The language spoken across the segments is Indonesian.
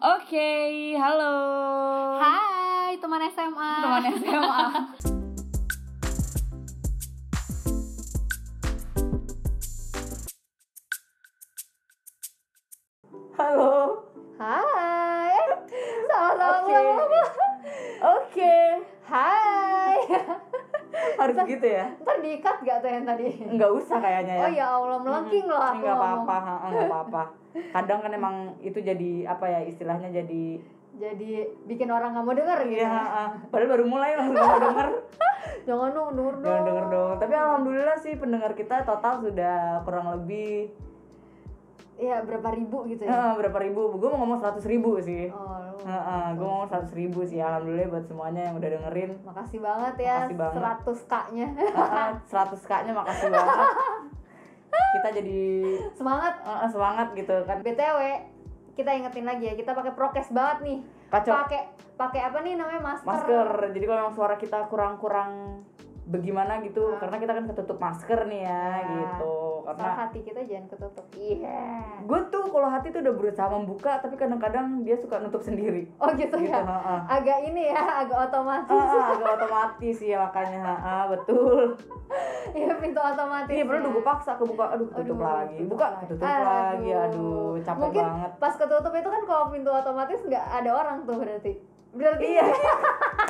Oke, halo. Hai teman SMA. Teman SMA. Halo. Hai. Sama-sama Oke. ulang ulang. Oke. Hai. Harus gitu ya? Ntar diikat gak tuh yang tadi? Enggak usah kayaknya ya. Oh ya Allah melengking loh aku Enggak ngomong. apa-apa, ha, enggak apa-apa. Kadang kan emang itu jadi apa ya istilahnya jadi Jadi bikin orang gak mau denger gitu. ya, ha. padahal baru mulai langsung mau denger. Jangan dong denger dong. Jangan denger dong. Tapi alhamdulillah sih pendengar kita total sudah kurang lebih Iya berapa ribu gitu ya. eh, berapa ribu? Gue mau ngomong 100 ribu sih. Oh, Heeh, gue mau 100 ribu sih alhamdulillah buat semuanya yang udah dengerin makasih banget ya Makasih banget. 100 kaknya. 100 k nya makasih banget kita jadi Semangat. eh, eh, semangat gitu kan BTW kita ingetin lagi ya kita pakai prokes banget nih. kacau Pakai pakai apa nih namanya masker. masker jadi kalau memang suara kita kurang-kurang bagaimana gitu Ah. karena kita kan ketutup masker nih ya Ya. gitu karena Soal hati kita jangan ketutup. Iya. gue tuh kalau hati tuh udah berusaha membuka tapi kadang-kadang dia suka nutup sendiri Oh gitu gitu ya. heeh. Agak ini ya, agak otomatis. Ah, agak otomatis ya makanya heeh, betul Iya, pintu otomatis. ya. Ini perlu gue paksa kebuka, aduh ketutup Aduh, lagi, ketutup buka lagi. ketutup Aduh. lagi, aduh capek Mungkin banget. Pas ketutup itu kan kalau pintu otomatis nggak ada orang tuh berarti. Berarti Iya.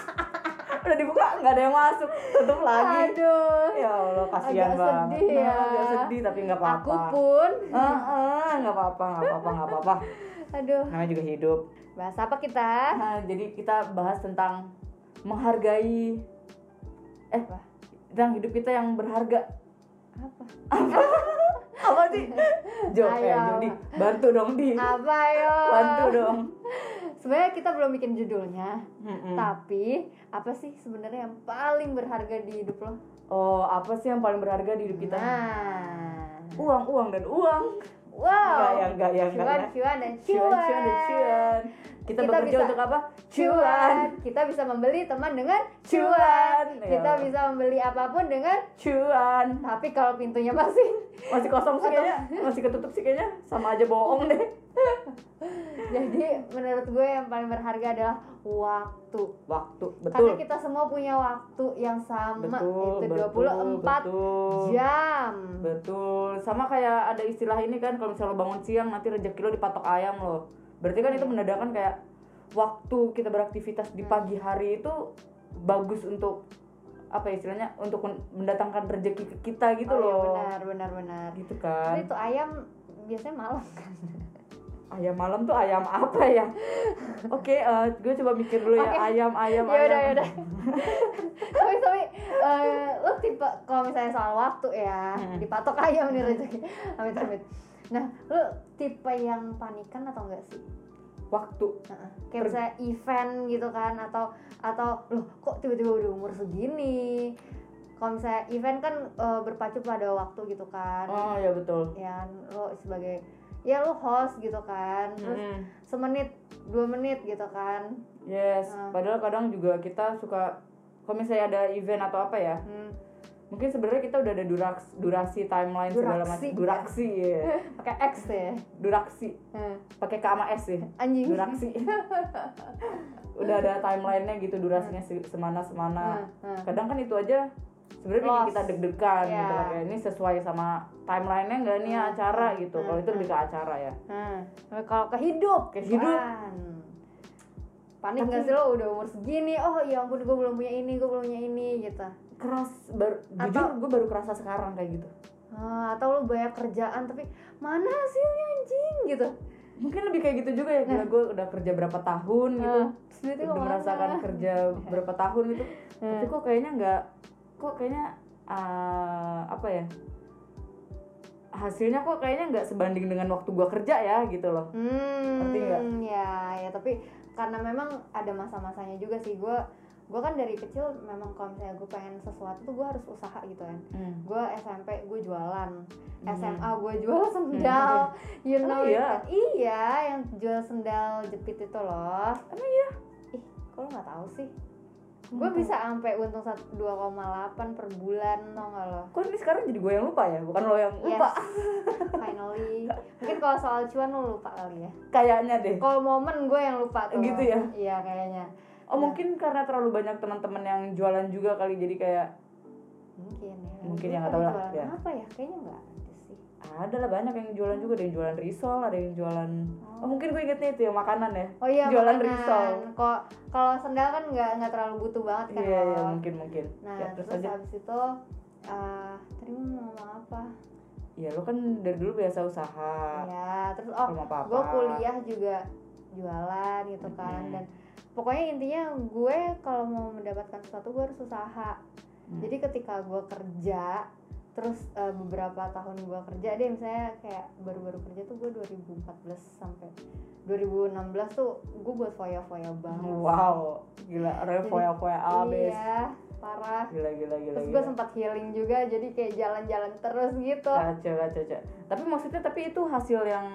Udah dibuka nggak ada yang masuk, tutup lagi. Aduh. Ya Allah kasihan Agak banget. sedih ya. Nah, agak sedih tapi nggak apa-apa. Aku pun Heeh, nggak apa-apa, nggak apa-apa, nggak apa-apa. aduh, Namanya juga hidup. bahas apa kita? Nah, jadi kita bahas tentang menghargai eh Apa? tentang hidup kita yang berharga. Apa? Apa sih? Jawab ya, Ayo. jadi bantu dong di. Apa yo? Bantu dong. Sebenarnya kita belum bikin judulnya, Mm-mm. tapi apa sih sebenarnya yang paling berharga di hidup lo? Oh, apa sih yang paling berharga di hidup kita? Nah. Uang, uang dan uang. Enggak Wow. ya, enggak ya, enggak Cuan, ya. cuan dan Cuan, cuan dan cuan. Kita, Kita bekerja bisa- untuk apa? cuan. Cuan. Kita bisa membeli teman dengan Cuan. cuan. Kita Ya. bisa membeli apapun dengan Cuan. tapi kalau pintunya masih Masih kosong sih Atau- kayaknya. Masih ketutup sih kayaknya. Sama aja bohong deh. jadi menurut gue yang paling berharga adalah waktu Waktu, karena betul. kita semua punya waktu yang sama Betul, itu betul, 24 betul. jam Betul. Sama kayak ada istilah ini kan kalau misalnya lo bangun siang nanti rezeki lo dipatok ayam lo. Berarti kan itu menandakan kayak waktu kita beraktivitas di pagi hari itu bagus untuk apa ya istilahnya untuk men- mendatangkan rezeki ke kita gitu oh, iya, loh. benar benar benar Gitu kan. Tapi itu ayam biasanya malam kan Ayam malam tuh ayam apa ya? Oke, eh, gue coba mikir dulu ya Oke. ayam ayam ya udah ya ayam. udah tapi tapi eh, lo tipe kalau misalnya soal waktu ya Hmm. dipatok ayam nih rezeki amit amit nah lo tipe yang panikan atau enggak sih Waktu. kayak Per- misalnya event gitu kan atau atau loh kok tiba-tiba udah umur segini kalau misalnya event kan eh, berpacu pada waktu gitu kan Oh ya betul. ya lo sebagai ya lo host gitu kan terus Mm-mm. semenit dua menit gitu kan Yes, Ah. padahal kadang juga kita suka kalau misalnya ada event atau apa ya, hmm. mungkin sebenarnya kita udah ada duraks, durasi timeline segala Duraksi. iya. macam duraksi ya pakai X ya duraksi Hmm. pakai K sama S ya anjing duraksi udah ada timelinenya gitu durasinya se- semana semana Hmm, hmm. kadang kan itu aja sebenarnya bikin Lost. kita deg-degan Iya. gitu kan Kayak ini sesuai sama timelinenya nggak nih ya Hmm, acara hmm, gitu hmm, kalau itu lebih ke acara ya Hmm. Tapi kalau ke hidup Ke hidup. kan. panik Tapi- nggak sih lo udah umur segini oh ya ampun gue belum punya ini gue belum punya ini gitu keras baru jujur gue baru kerasa sekarang kayak gitu Ah, atau lo banyak kerjaan tapi mana hasilnya anjing gitu mungkin lebih kayak gitu juga ya gila gue udah kerja berapa tahun gitu Nah. Ah, terus duitnya udah kemana? merasakan kerja berapa tahun gitu Hmm. tapi kok kayaknya nggak kok kayaknya eh, apa ya hasilnya kok kayaknya nggak sebanding dengan waktu gua kerja ya gitu loh Ngerti nggak? hmm ya ya tapi karena memang ada masa-masanya juga sih gue gue kan dari kecil memang kalau misalnya gue pengen sesuatu tuh gue harus usaha gitu kan gue SMP gue jualan Hmm. SMA gue jual sendal you Oh, know iya? it. iya yang jual sendal jepit itu loh emang iya ih kalau nggak tahu sih Hmm. gue bisa sampai untung sat- 2,8 per bulan tau gak lo Kok ini sekarang jadi gue yang lupa ya? Bukan lo yang Yes, lupa. finally. Mungkin kalau soal cuan lo lupa kali ya. Kayaknya deh. Kalau momen gue yang lupa tuh. Gitu ya? Iya kayaknya. Oh mungkin karena terlalu banyak teman-teman yang jualan juga kali jadi kayak Mungkin ya. Mungkin Gue ya, nggak pernah tahu lah, jualan ya. Apa ya? Kayaknya nggak ada sih. ada lah banyak yang jualan juga ada yang jualan risol ada yang jualan oh, mungkin gue ingetnya itu yang makanan ya Oh iya, jualan makanan. risol Kok kalau sendal kan nggak nggak terlalu butuh banget iya kan iya, lo. mungkin mungkin Nah, ya, terus, terus aja habis itu eh tadi mau ngomong apa? ya lo kan dari dulu biasa usaha ya, terus oh rumah papa gue kuliah juga jualan gitu kan Mm-mm. dan pokoknya intinya gue kalau mau mendapatkan sesuatu gue harus usaha Hmm. jadi ketika gue kerja terus eh, beberapa tahun gue kerja deh misalnya kayak baru-baru kerja tuh gue 2014 sampai 2016 tuh gue buat foya-foya banget wow gila orangnya Jadi- foya foya abis iya parah gila gila gila terus gila. gue sempat healing juga jadi kayak jalan-jalan terus gitu Kacau, kacau, kacau. ah, tapi maksudnya tapi itu hasil yang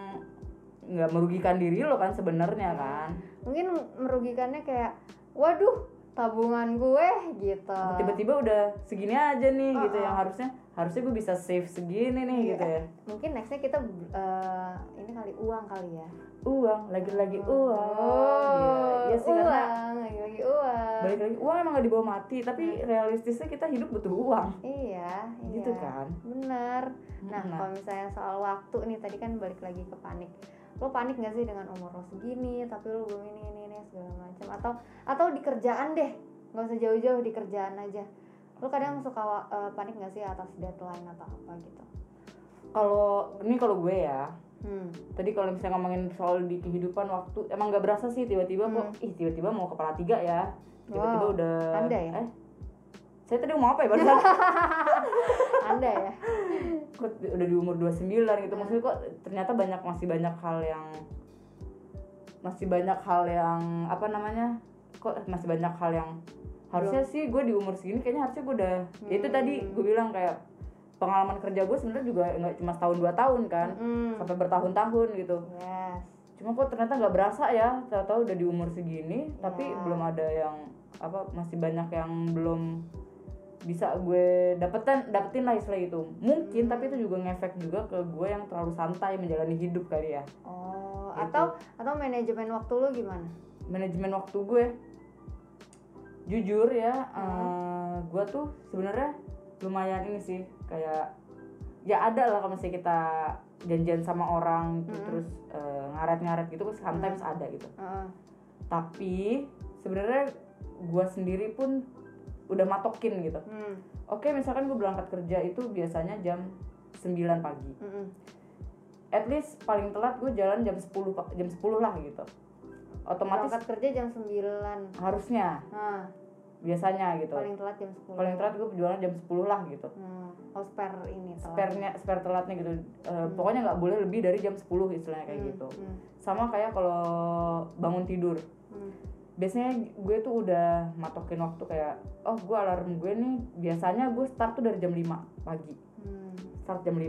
nggak merugikan diri lo kan sebenarnya Iya. kan mungkin merugikannya kayak waduh tabungan gue gitu tiba-tiba udah segini aja nih Oh, gitu oh. yang harusnya harusnya gue bisa save segini nih Iya. gitu ya mungkin nextnya kita eh, ini kali uang kali ya uang lagi-lagi Oh, uang Gila. Iya sih uang karena lagi-lagi uang balik lagi uang emang gak dibawa mati tapi realistisnya kita hidup butuh uang iya iya gitu kan benar nah Nah. kalau misalnya soal waktu nih tadi kan balik lagi ke panik lo panik gak sih dengan umur lo segini tapi lo belum ini ini ini segala macam atau atau di kerjaan deh nggak usah jauh-jauh di kerjaan aja lo kadang suka wa- eh, panik gak sih atas deadline atau apa gitu kalau ini kalau gue ya hmm tadi kalau misalnya ngomongin soal di kehidupan waktu emang gak berasa sih tiba-tiba kok ih tiba-tiba mau kepala tiga ya tiba-tiba Hmm. Wow, udah Anda ya? eh saya tadi mau apa ya barusan anda ya kok udah di umur 29 gitu maksudnya kok ternyata banyak masih banyak hal yang masih banyak hal yang apa namanya kok masih banyak hal yang harusnya sih gue di umur segini kayaknya harusnya gue udah ya itu tadi Hmm. gue bilang kayak pengalaman kerja gue sebenarnya juga nggak cuma setahun dua tahun kan hmm sampai bertahun-tahun gitu yes cuma kok ternyata nggak berasa ya tahu-tahu udah di umur segini tapi Iya. belum ada yang apa masih banyak yang belum bisa gue dapetin dapetin lah istilah itu mungkin tapi itu juga ngefek juga ke gue yang terlalu santai menjalani hidup kali ya Oh, Gitu. atau atau manajemen waktu lu gimana? manajemen waktu gue jujur ya eh, gue tuh sebenarnya lumayan ini sih kayak ya ada lah kalau misalnya kita janjian sama orang gitu, terus eh, ngaret-ngaret gitu sometimes ada gitu Heeh. tapi sebenarnya gue sendiri pun udah matokin gitu Hmm, oke misalkan gue berangkat kerja itu biasanya jam 9 pagi mm-mm. at least paling telat gue jalan jam 10 pa- jam 10 lah gitu otomatis Berangkat kerja jam 9. harusnya Nah, biasanya gitu paling, paling telat jam 10. telat gue jualan jam 10 lah gitu Hmm, oh, spare ini telat. sparenya spare telatnya gitu Eh, pokoknya nggak boleh lebih dari jam 10 istilahnya kayak Hmm, gitu hmm, sama kayak kalau bangun tidur hmm. biasanya gue tuh udah matokin waktu kayak oh gue alarm gue nih biasanya gue start tuh dari jam 5 pagi Hmm, start jam 5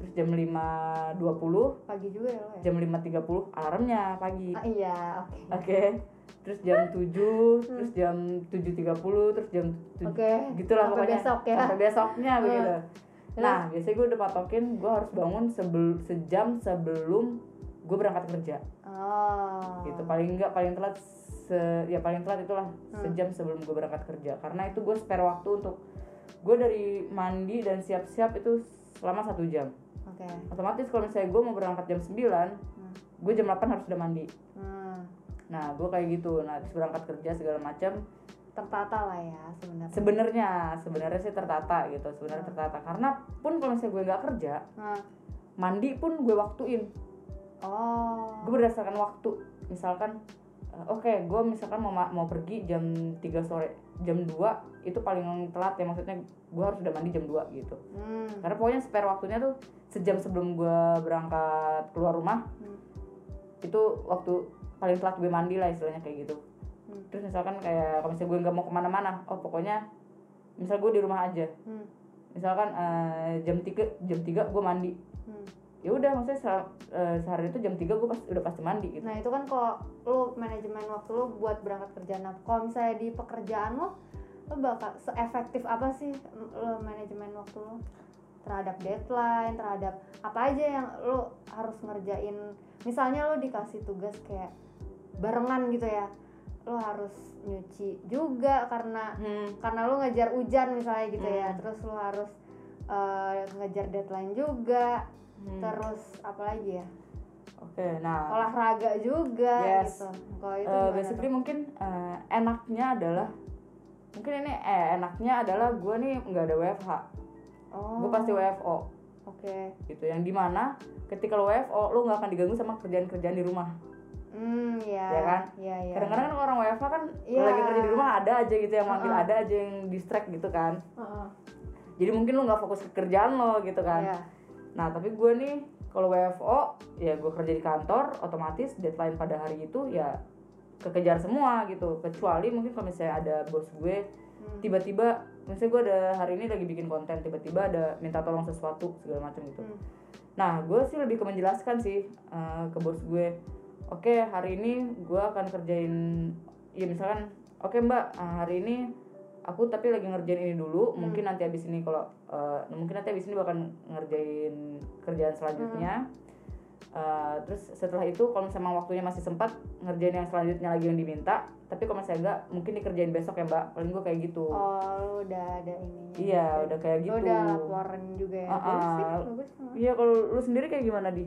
terus jam 5.20 Pagi juga ya lo ya? jam 5.30 alarmnya pagi Ah, iya, oke. oke terus jam 7 terus jam 7.30 terus jam 7 Hmm. Oke. gitulah sampai pokoknya besok ya. sampai besoknya Hmm. begitu nah biasanya gue udah patokin gue harus bangun sebel- sejam sebelum gue berangkat kerja Oh. gitu paling enggak paling telat se- ya paling telat itulah sejam sebelum gue berangkat kerja karena itu gue spare waktu untuk gue dari mandi dan siap-siap itu selama satu jam Oke. otomatis kalau misalnya gue mau berangkat jam 9 Hmm. gue jam 8 harus udah mandi hmm, nah gue kayak gitu nah habis berangkat kerja segala macam Tertata lah ya sebenarnya. sebenarnya sebenarnya sih tertata gitu sebenarnya tertata karena pun kalau misalnya gue nggak kerja Nah, mandi pun gue waktuin Oh. gue berdasarkan waktu misalkan eh, oke gue misalkan mau ma- mau pergi jam 3 sore jam 2 itu paling telat ya maksudnya gue harus udah mandi jam 2 gitu Hmm. karena pokoknya spare waktunya tuh sejam sebelum gue berangkat keluar rumah Hmm. itu waktu paling telat gue mandi lah istilahnya kayak gitu Hmm. terus misalkan kayak kalau misalnya gue nggak mau kemana-mana oh pokoknya misal gue di rumah aja Hmm. misalkan eh, jam 3 jam 3 gue mandi hmm. ya udah maksudnya se- eh, sehari itu jam 3 gue pas udah pasti mandi gitu Nah itu kan kalau lo manajemen waktu lo buat berangkat kerja Nah kalau misalnya di pekerjaan lo Lo bakal seefektif apa sih mm, lo manajemen waktu lo Terhadap deadline, terhadap apa aja yang lo harus ngerjain Misalnya lo dikasih tugas kayak barengan gitu ya Lo harus nyuci juga karena hmm. karena lo ngejar hujan misalnya gitu ya Hmm. Terus lo harus eh, ngejar deadline juga hmm. Terus apalagi ya oke nah olahraga juga Yes. gitu. Kalau itu Eh, gimana basically tuh? mungkin eh, enaknya adalah mungkin ini eh, enaknya adalah gue nih nggak ada WFH oh, gue pasti WFO Oke. gitu yang dimana ketika lo WFO lo nggak akan diganggu sama kerjaan-kerjaan di rumah Hmm, ya. Ya kan? Ya, ya. kadang-kadang kan orang WFH kan Iya. lagi kerja di rumah ada aja gitu yang manggil Uh-uh. ada aja yang distract gitu kan Heeh. jadi mungkin lo nggak fokus ke kerjaan lo gitu kan Ya. nah tapi gue nih kalau WFO ya gue kerja di kantor otomatis deadline pada hari itu ya kekejar semua gitu kecuali mungkin kalau misalnya ada bos gue Gitu. Hmm. tiba-tiba misalnya gue ada hari ini lagi bikin konten tiba-tiba ada minta tolong sesuatu segala macam gitu Hmm. nah gue sih lebih ke menjelaskan sih eh, ke bos gue oke hari ini gue akan kerjain ya misalkan oke mbak eh, hari ini aku tapi lagi ngerjain ini dulu Hmm. mungkin nanti abis ini kalau eh, mungkin nanti abis ini bakal ngerjain kerjaan selanjutnya Hmm. Eh, terus setelah itu kalau misalnya waktunya masih sempat ngerjain yang selanjutnya lagi yang diminta tapi kalau misalnya enggak mungkin dikerjain besok ya mbak paling gue kayak gitu Oh, lu udah ada ininya. Iya, gitu. udah kayak Lu gitu. udah laporan juga ya. Ah, Bagus sih, ah. bagus. Heeh. Iya, kalau lu sendiri kayak gimana, Di?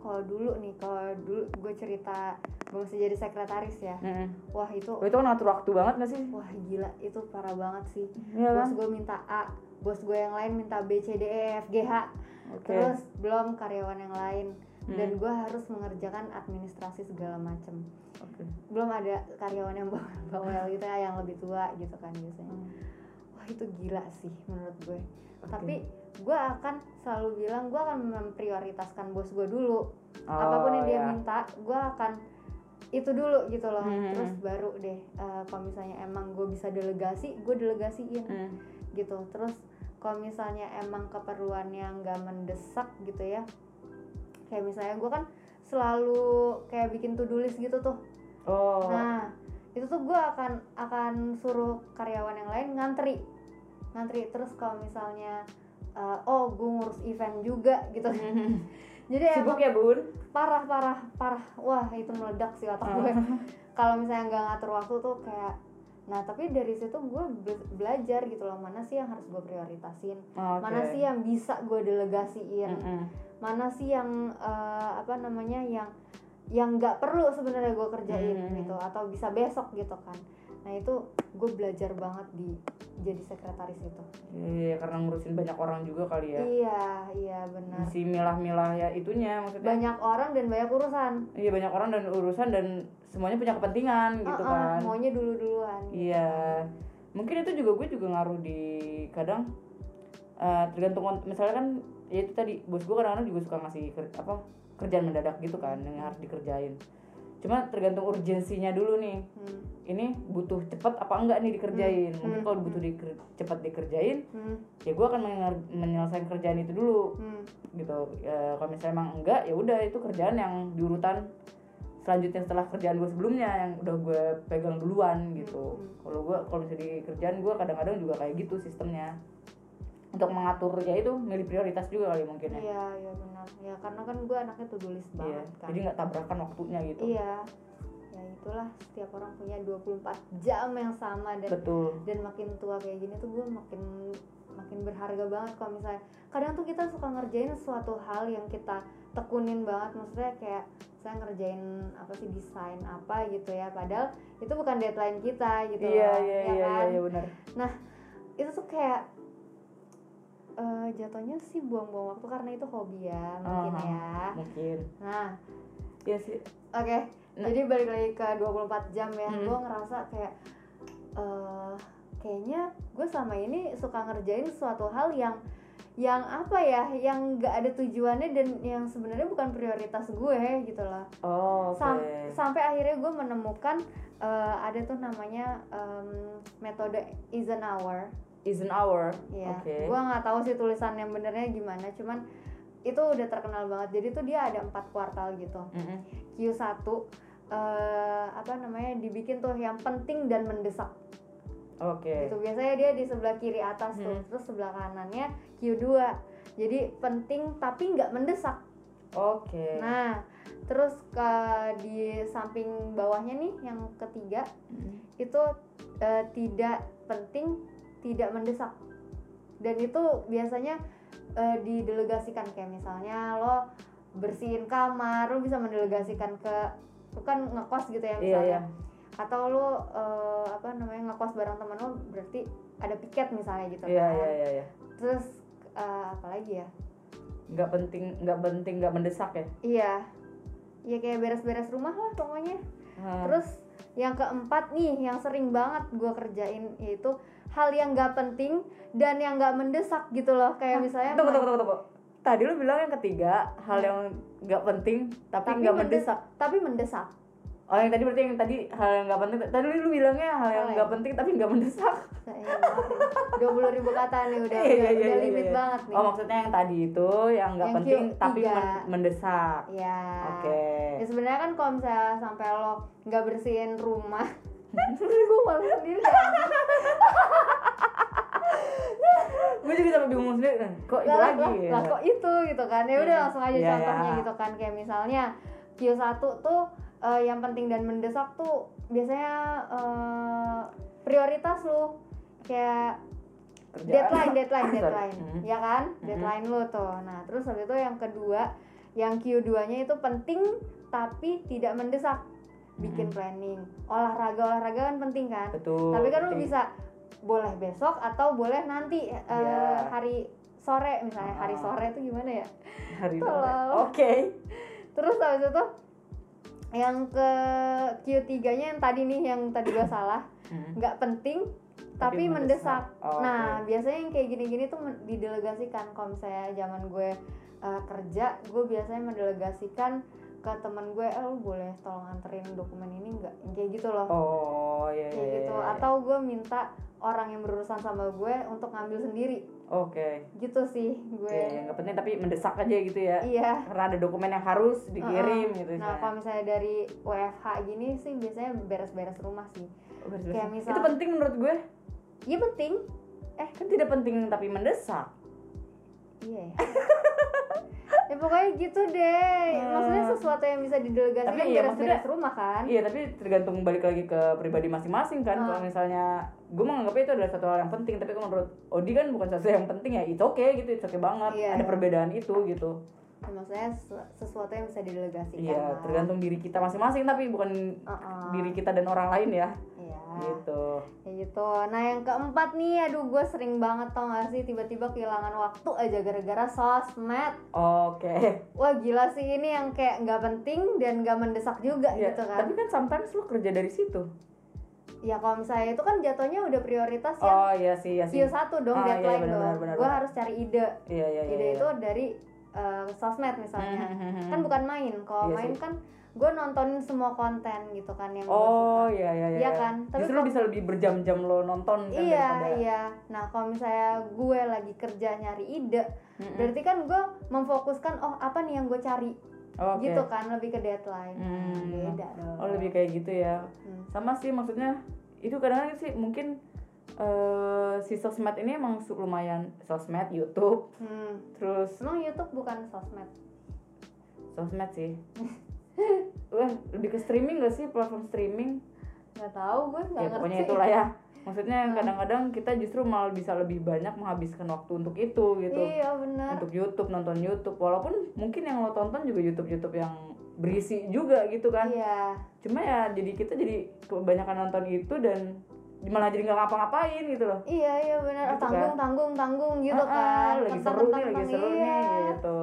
Kalau dulu nih, kalau dulu gue cerita gue masih jadi sekretaris ya. Heeh. Wah, itu Itu kan ngatur waktu banget gak sih? wah gila, itu parah banget sih. Iya kan? Bos gue minta A, bos gue yang lain minta B, C, D, E, F, G, H. Oke. terus belum karyawan yang lain dan Hmm. gue harus mengerjakan administrasi segala macem Oke. belum ada karyawan yang bawel bawel gitu ya yang lebih tua gitu kan biasanya wah itu gila sih menurut gue Oke. tapi gue akan selalu bilang gue akan memprioritaskan bos gue dulu apapun yang dia iya. minta gue akan itu dulu gitu loh Hmm. terus baru deh eh, kalau misalnya emang gue bisa delegasi gue delegasiin Hmm. gitu terus kalau misalnya emang keperluannya nggak mendesak gitu ya kayak misalnya gue kan selalu kayak bikin to do list gitu tuh Oh. nah itu tuh gue akan akan suruh karyawan yang lain ngantri ngantri terus kalau misalnya eh, oh gue ngurus event juga gitu jadi Sibuk emang ya, Bun? parah parah parah wah itu meledak sih otak gue kalau misalnya nggak ngatur waktu tuh kayak nah tapi dari situ gue be- belajar gitu loh mana sih yang harus gue prioritasin Ah, Oke. Mm-hmm. mana sih ya? Iya. yang bisa gue delegasiin Mm-mm. mana sih yang eh, apa namanya yang yang nggak perlu sebenarnya gue kerjain Hmm. gitu atau bisa besok gitu kan nah itu gue belajar banget di jadi sekretaris itu Iya, karena ngurusin banyak orang juga kali ya. iya iya benar Si milah-milah ya itunya maksudnya. banyak orang dan banyak urusan Iya, banyak orang dan urusan dan semuanya punya kepentingan gitu Uh-uh, kan. maunya dulu duluan Iya, mungkin itu juga gue juga ngaruh di kadang eh, tergantung kont- misalnya kan ya itu tadi bos gue kadang-kadang juga suka ngasih ker- apa kerjaan mendadak gitu kan yang harus dikerjain. Cuma tergantung urgensinya dulu nih. Hmm, Ini butuh cepet apa enggak nih dikerjain? Hmm, Mungkin hmm, kalau butuh diker- cepet dikerjain, hmm, ya gue akan menger- menyelesaikan kerjaan itu dulu hmm. gitu. Eh, kalau misalnya emang enggak, ya udah itu kerjaan yang diurutan selanjutnya setelah kerjaan gue sebelumnya yang udah gue pegang duluan gitu. Hmm. Kalau gue kalau misalnya di kerjaan gue kadang-kadang juga kayak gitu sistemnya untuk mengatur ya itu milih prioritas juga kali mungkin ya. Iya, iya benar. Ya karena kan gue anaknya tuh tulis Iya. banget kan. Jadi nggak tabrakan waktunya gitu. Iya. Ya itulah setiap orang punya 24 jam yang sama dan Betul. dan makin tua kayak gini tuh gue makin makin berharga banget kalau misalnya kadang tuh kita suka ngerjain suatu hal yang kita tekunin banget maksudnya kayak saya ngerjain apa sih desain apa gitu ya padahal itu bukan deadline kita gitu Iya loh, iya ya iya kan? iya benar. itu tuh kayak eh, jatuhnya sih buang-buang waktu karena itu hobi ya mungkin Aha. ya Mungkin. nah Iya sih. Oke, Nah. jadi balik lagi ke 24 jam ya. Hmm. Gue ngerasa kayak eh kayaknya gue sama ini suka ngerjain suatu hal yang yang apa ya, yang nggak ada tujuannya dan yang sebenarnya bukan prioritas gue gitu loh. Oh, oke. Sam- sampai akhirnya gue menemukan eh, ada tuh namanya em, metode Eisenhower. Is an hour. Ya, Oke. gue nggak tahu sih tulisan yang benernya gimana, cuman itu udah terkenal banget jadi tuh dia ada empat kuartal gitu Mm-mm. Q1 eh, apa namanya dibikin tuh yang penting dan mendesak Oke. gitu biasanya dia di sebelah kiri atas tuh Hmm. terus sebelah kanannya Q2 jadi penting tapi nggak mendesak Oke. nah terus ke di samping bawahnya nih yang ketiga Mm. itu eh, tidak penting tidak mendesak dan itu biasanya eh, didelegasikan kayak misalnya lo bersihin kamar lo bisa mendelegasikan ke lo kan ngekos gitu Iya, ya misalnya iya. atau lo eh, apa namanya ngekos bareng temen lo berarti ada piket misalnya gitu Iya, kan. iya, iya, iya. terus eh, apa lagi ya Nggak penting, nggak penting, nggak mendesak ya. iya ya kayak beres-beres rumah lah pokoknya Hmm. Terus yang keempat nih yang sering banget gue kerjain yaitu hal yang gak penting dan yang gak mendesak gitu loh kayak misalnya tunggu, tunggu, tunggu, tunggu. Tadi lu bilang yang ketiga hal yang nggak penting tapi Tapi nggak mendes- mendesak. tapi mendesak Oh yang tadi berarti yang tadi hal yang nggak penting. Tadi lu bilangnya hal yang Hal nggak yang- penting tapi nggak mendesak. dua puluh ribu kata nih udah Iya, udah, iya, udah iya, limit iya. banget nih Oh maksudnya yang tadi itu yang nggak Yang penting Q3. tapi men- mendesak. ya Oke. ya sebenarnya kan kalau misalnya sampai lo nggak bersihin rumah gue malu sendiri kan? Gue juga sampai bingung sendiri. Nah, Kok itu Lah, lagi? lah, ya? lah, kok itu gitu kan ya udah Hmm. langsung aja Iya, contohnya iya. gitu kan kayak misalnya Q1 tuh eh, yang penting dan mendesak tuh biasanya eh, prioritas lu kayak Kerjaan. deadline deadline Sorry. deadline Mhm. ya kan Mhm. deadline lu tuh nah terus habis itu yang kedua yang Q2 nya itu penting tapi tidak mendesak Mhm. bikin planning olahraga olahraga kan penting kan Betul. tapi kan lu penting. bisa boleh besok atau boleh nanti eh, Iya. hari sore misalnya hari Ah. sore itu gimana ya hari ini. Oke. Tolong. terus habis itu yang ke Q3 nya yang tadi nih yang tadi gua salah Hmm. nggak penting tapi, mendesak, Oh, nah oke. biasanya yang kayak gini-gini tuh men- didelegasikan kalau misalnya zaman gue eh, kerja gue biasanya mendelegasikan ke temen gue eh lu boleh tolong anterin dokumen ini nggak Yang kayak gitu loh Oh iya iya. kayak gitu iya, iya. atau gue minta orang yang berurusan sama gue untuk ngambil sendiri Oke. gitu sih gue Iya, iya, nggak penting tapi mendesak aja gitu ya. iya Karena ada dokumen yang harus dikirim gitu. nah misalnya. kalau misalnya dari WFH gini sih biasanya beres-beres rumah sih Oh, beres-beres. kayak misal- Itu penting menurut gue. iya penting Eh, Kan tidak penting tapi mendesak. iya ya. ya pokoknya gitu deh maksudnya sesuatu yang bisa didelegasikan Hmm. Tapi iya, beres-beres rumah kan Iya, tapi tergantung balik lagi ke pribadi masing-masing kan. Ah. Kalau misalnya gue menganggapnya itu adalah satu hal yang penting, tapi kalau menurut Odi kan bukan sesuatu yang penting ya. Itu oke gitu, itu oke banget. Iya. Ada perbedaan itu gitu. Ya, maksudnya sesu- sesuatu yang bisa didelegasikan kan? Iya, lah. tergantung diri kita masing-masing tapi bukan Uh-uh. diri kita dan orang lain ya. Iya. Gitu. Kayak gitu. Nah yang keempat nih, aduh gue sering banget tau gak sih tiba-tiba kehilangan waktu aja gara-gara sosmed. Oke. Wah gila sih ini yang kayak nggak penting dan nggak mendesak juga Iya, gitu kan. Tapi kan sometimes lu kerja dari situ. Ya kalau misalnya itu kan jatuhnya udah prioritas yang Oh iya sih, iya sih. Q1 dong Ah, iya, deadline benar, dong. benar, benar, Gue benar. harus cari ide. Iya, iya, iya. Ide iya. itu dari eh, sosmed misalnya. Hmm, hmm, hmm, Kan hmm. bukan main. Kalau Iya main sih. kan gue nontonin semua konten gitu kan yang gua Oh suka. iya iya iya. Iya kan? Tapi Justru lu bisa lebih berjam-jam lo nonton kan Iya, daripada. iya. Nah, kalau misalnya gue lagi kerja nyari ide, Mm-mm. berarti kan gue memfokuskan oh apa nih yang gue cari Oke. gitu kan lebih ke deadline Nah, Hmm. beda dong Oh lebih kayak gitu ya. Hmm. Sama sih maksudnya itu kadang-kadang sih mungkin eh si sosmed ini emang su- lumayan sosmed YouTube Hmm. terus emang YouTube bukan sosmed sosmed sih. Wah lebih ke streaming gak sih platform streaming? nggak tahu gue nggak ya ngerti pokoknya itulah ya. Maksudnya Hmm. kadang-kadang kita justru malah bisa lebih banyak menghabiskan waktu untuk itu gitu. iya benar untuk YouTube nonton YouTube walaupun mungkin yang lo tonton juga YouTube YouTube yang berisi juga gitu kan iya cuma ya jadi kita jadi kebanyakan nonton itu dan malah jadi nggak ngapa-ngapain gitu loh iya iya Gitu kan. benar tanggung tanggung tanggung gitu Ah, ah, kan lagi Kentang, seru nih kentang, lagi kentang, seru iya. nih gitu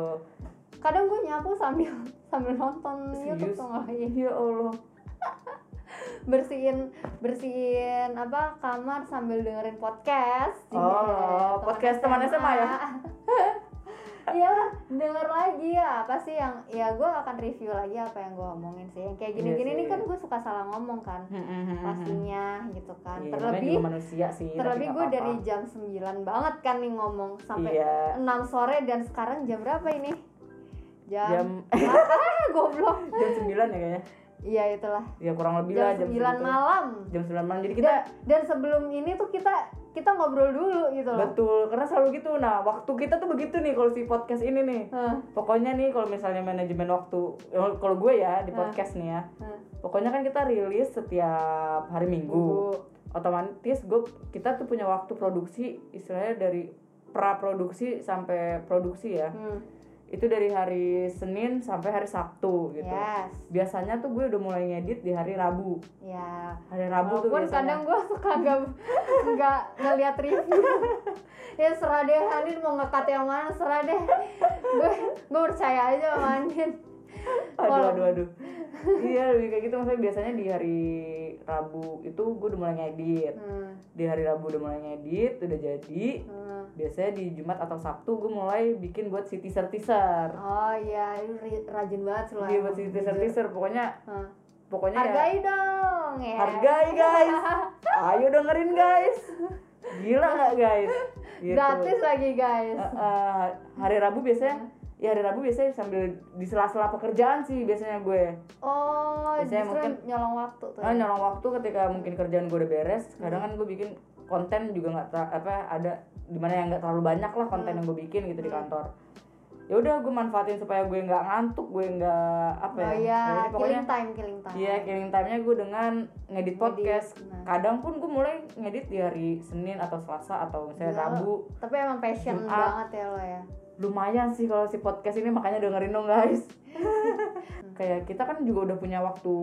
kadang gue nyapu sambil sambil nonton YouTube serius tuh nggak? Iya. ya Allah bersihin bersihin apa kamar sambil dengerin podcast Oh, podcast teman SMA ya? ya denger lagi ya apa sih yang ya gue akan review lagi apa yang gue omongin sih yang kayak Iya gini-gini ini sih. Mm-hmm. kan gue suka salah ngomong kan pastinya gitu kan Iya, namanya terlebih juga manusia sih tapi terlebih nggak gue apa-apa. dari jam 9 banget kan nih ngomong sampai iya 6 sore dan sekarang jam berapa ini jam jam, Ah, goblok jam sembilan ya kayaknya iya itulah ya kurang lebih lah jam jam 9 malam malam jam sembilan malam jadi kita dan, dan sebelum ini tuh kita kita ngobrol dulu gitu loh betul karena selalu gitu nah waktu kita tuh begitu nih kalau si podcast ini nih Hah, pokoknya nih kalau misalnya manajemen waktu ya, kalau gue ya di Hah. podcast nih ya hah. pokoknya kan kita rilis setiap hari minggu otomatis gue kita tuh punya waktu produksi istilahnya dari pra produksi sampai produksi ya Hmm, itu dari hari Senin sampai hari Sabtu gitu yes biasanya tuh gue udah mulai ngedit di hari Rabu ya hari Rabu tuh Walaupun kadang biasanya gue suka nggak nggak ngeliat review ya serah deh Andin mau ngekat yang mana serah deh gue gue percaya aja sama Andin aduh kalau- aduh aduh iya lebih kayak gitu maksudnya biasanya di hari Rabu itu gue udah mulai ngedit hmm, di hari Rabu udah mulai ngedit udah jadi hmm. biasanya di Jumat atau Sabtu gue mulai bikin buat si teaser teaser oh iya lu ri- rajin banget sih lo Iya emang, buat si teaser jujur. teaser pokoknya Hah. pokoknya ya- hargai dong ya hargai guys ayo dengerin guys gila nggak guys Gitu. gratis lagi guys Eh, eh, hari Rabu biasanya ya hari Rabu biasanya sambil di sela-sela pekerjaan sih biasanya gue oh Biasanya justru mungkin- nyolong waktu tuh Ah, ya. nyolong waktu ketika mungkin kerjaan gue udah beres Iya. kadang kan gue bikin konten juga nggak ter- apa ada dimana yang nggak terlalu banyak lah konten Iya. yang gue bikin gitu di kantor ya udah gue manfaatin supaya gue nggak ngantuk gue nggak apa ya oh iya Ya, jadi pokoknya killing time killing time Iya, killing time-nya gue dengan ngedit podcast. nah. Kadang pun gue mulai ngedit di hari Senin atau Selasa atau misalnya Gila. Rabu. tapi emang passion Jumat. banget ya lo ya Lumayan sih kalau si podcast ini makanya dengerin dong guys. Kayak kita kan juga udah punya waktu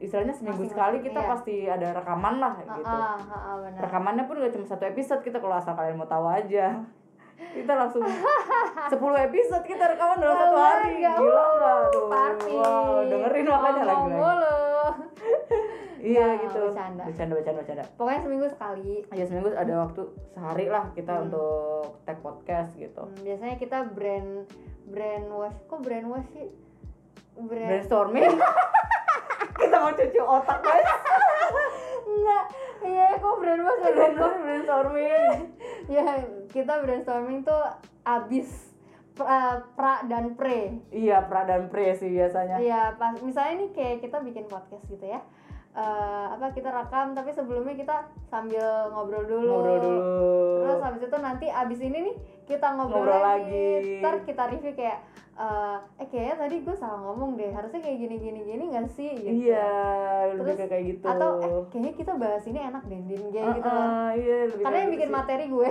istilahnya seminggu sekali Masing-masing, kita iya. pasti ada rekaman lah gitu. Ah, ah, ah, ah, benar. Rekamannya pun gak cuma satu episode kita kalau asal kalian mau tahu aja. kita langsung 10 episode kita rekaman dalam satu Keren hari. nggak? Gila nggak Wuh, tuh? Party. Wow, dengerin makanya Ngomong lagi. mulu. Iya Nggak, gitu. nah, bercanda. Bercanda bercanda bercanda. Pokoknya seminggu sekali. ya seminggu ada waktu sehari lah kita Hmm. untuk tag podcast gitu Hmm, biasanya kita brand brand wash. Kok brand wash sih? Brand brainstorming kita mau cuci otak guys enggak. Iya, kok brand wash ya Bener, brainstorming Ya, kita brainstorming tuh abis pra, pra dan pre. iya pra dan pre sih biasanya Iya, pas misalnya nih kayak kita bikin podcast gitu ya. Eh, apa kita rekam tapi sebelumnya kita sambil ngobrol dulu. ngobrol dulu Terus habis itu nanti abis ini nih kita ngobrol, Ngobrol lagi. lagi. Ntar kita review kayak eh, eh kayaknya tadi gue salah ngomong deh. Harusnya kayak gini gini gini nggak sih? Gitu. iya lebih ke Terus, kayak gitu Atau eh kayaknya kita bahas ini enak deh, din kayak Heeh, gitu loh. iya, lebih Karena kayak yang gitu bikin sih. materi gue.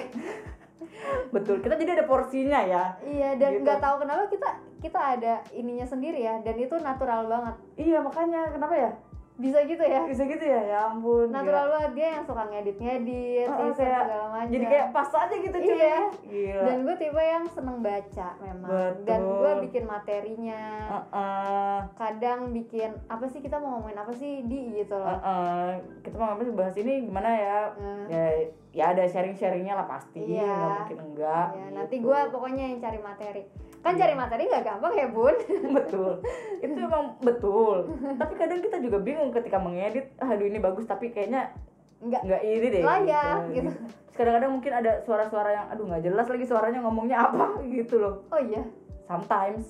betul kita jadi ada porsinya ya iya dan Gitu. nggak tahu kenapa kita kita ada ininya sendiri ya dan itu natural banget. iya makanya kenapa ya Bisa gitu ya. bisa gitu ya ya ampun gila. Natural Nah, banget dia yang suka ngedit-ngedit, Heeh, research kayak- segala macam. jadi kayak pas aja gitu cuy Iya. gila dan gue tipe yang seneng baca memang dan Betul. gue bikin materinya Ah, Heeh. kadang bikin apa sih kita mau ngomongin apa sih di gitu loh Heeh, ah, kita mau ngapain sih bahas ini gimana ya? Nah, Ya, ya ada sharing-sharingnya lah pasti, Iya. nggak mungkin enggak. ya, gitu. Iya. nanti gue pokoknya yang cari materi kan cari materi nggak gampang ya bun betul, itu emang betul. tapi kadang kita juga bingung ketika mengedit, aduh ini bagus tapi kayaknya nggak nggak ini deh. Layak, gitu. Terus kadang-kadang mungkin ada suara-suara yang aduh nggak jelas lagi suaranya ngomongnya apa gitu loh. oh iya Sometimes.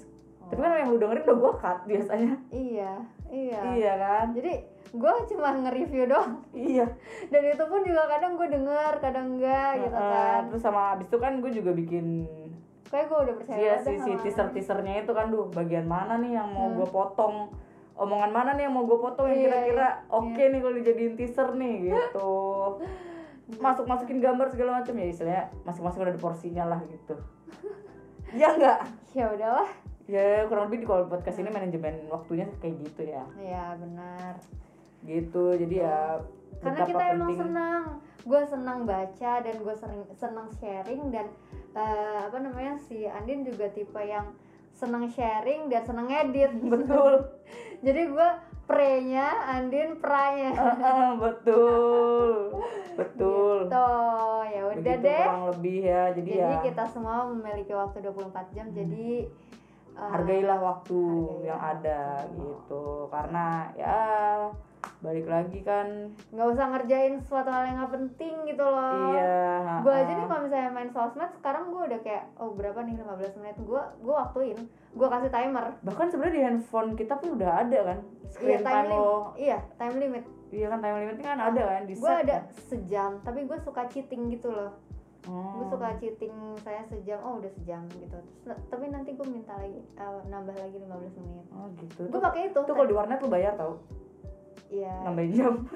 Tapi kan yang lu dengerin udah gua cut biasanya. iya Oh. iya Iya kan? jadi gue cuma nge-review doang Iya. dan itu pun juga kadang gue denger kadang enggak gitu Heeh, kan terus sama abis itu kan gue juga bikin kayak gue udah percaya Iya banget sih sama si Amin. teaser teasernya itu kan duh bagian mana nih yang mau gue potong omongan mana nih yang mau gue potong yang Iya, kira-kira oke nih kalau dijadiin teaser nih gitu masuk masukin gambar segala macam ya istilahnya masing-masing udah ada porsinya lah gitu ya enggak ya udahlah ya kurang lebih di kalau podcast Hmm. ini manajemen waktunya kayak gitu ya ya benar gitu jadi ya karena betapa kita emang penting- senang gue senang baca dan gue sering senang sharing dan eh, apa namanya si Andin juga tipe yang senang sharing dan senang edit betul jadi gue pre-nya Andin pranya Heeh, betul Ah, betul gitu ya udah Begitu deh kurang lebih ya jadi, jadi ya Hmm. kita semua memiliki waktu 24 jam jadi eh, hargailah waktu Hargailah yang ada waktu. gitu karena ya balik lagi kan nggak usah ngerjain suatu hal yang nggak penting gitu loh iya gue aja heeh. nih kalau misalnya main sosmed sekarang gue udah kayak oh berapa nih 15 menit gue gue waktuin gue kasih timer bahkan sebenarnya di handphone kita pun udah ada kan iya screen time time limit lo iya time limit iya kan time limit kan ada kan di gue set ada sejam tapi gue suka cheating gitu loh kan? Hmm. gue suka cheating saya sejam oh udah sejam gitu Terus, na- tapi nanti gue minta lagi eh, nambah lagi 15 menit oh gitu gue tuh, pakai itu tuh kalau di warnet lu bayar tau iya nambahin jam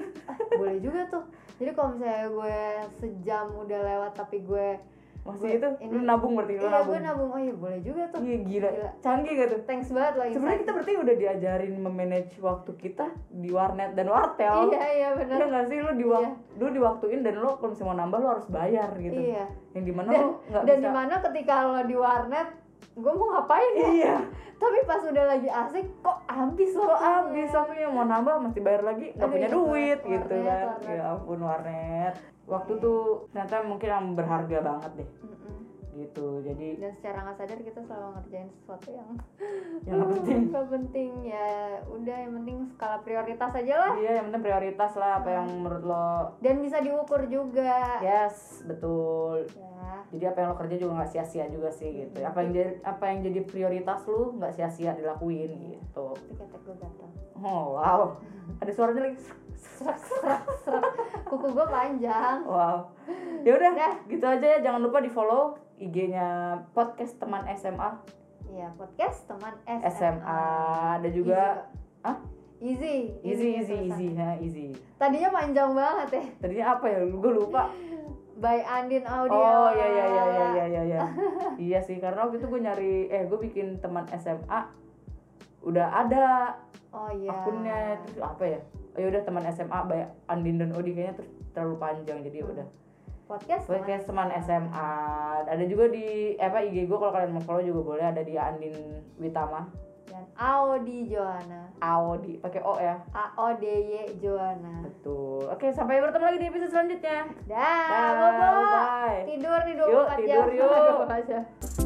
boleh juga tuh jadi kalau misalnya gue sejam udah lewat tapi gue masih Gue- itu ini- lu nabung berarti lu iya nabung gue nabung oh iya boleh juga tuh iya gila. Gila. Iya, canggih gak tuh thanks banget loh sebenarnya gitu Insight. kita berarti udah diajarin memanage waktu kita di warnet dan wartel iya iya benar ya, Iya nggak sih lu di Iya. lu diwaktuin dan lu kalau misalnya mau nambah lu harus bayar gitu. iya Yang dimana Dan- lu nggak dan bisa. dimana ketika lo di warnet gue mau ngapain ya Iya. tapi pas udah lagi asik kok habis Kok waktunya. habis waktunya mau nambah masih bayar lagi nggak Aduh, punya iya, duit warnet, gitu kan. warnet. Ya ampun warnet. Waktu Iya. tuh ternyata mungkin yang berharga banget deh Mm-mm. gitu. Jadi dan secara nggak sadar kita selalu ngerjain sesuatu yang yang nggak penting. nggak penting ya udah yang penting skala prioritas aja lah Iya yang penting prioritas lah apa yang menurut lo. dan bisa diukur Ya. juga Yes betul. ya Jadi apa yang lo kerja juga nggak sia-sia juga sih gitu. Apa yang jadi apa yang jadi prioritas lu nggak sia-sia dilakuin gitu. itu ketek gue gatel Oh wow. Ada suaranya lagi. serak serak serak kuku gue panjang Wow. Ya udah, Dah. gitu aja ya. Jangan lupa di-follow IG-nya podcast teman SMA ya podcast teman SMA, SMA. Ada juga Hah? easy kok. easy easy tulisan. easy ya easy. tadinya panjang banget ya Tadinya apa ya? Gue lupa. by Andin Audio Oh iya iya iya iya iya iya. iya. iya sih karena waktu itu gue nyari eh gue bikin teman SMA udah ada oh iya akunnya terus apa ya? Oh, ya udah teman SMA by Andin dan Odi kayaknya terus terlalu panjang jadi ya udah podcast teman podcast teman SMA ada juga di eh, apa IG gue kalau kalian mau follow juga boleh ada di Andin Witama dan Audi Joana Audi pakai O ya A O D Y Joana betul oke sampai bertemu lagi di episode selanjutnya dah Dah, bobo bye tidur nih 24 Yuk, jam tidur yuk. 24 jam.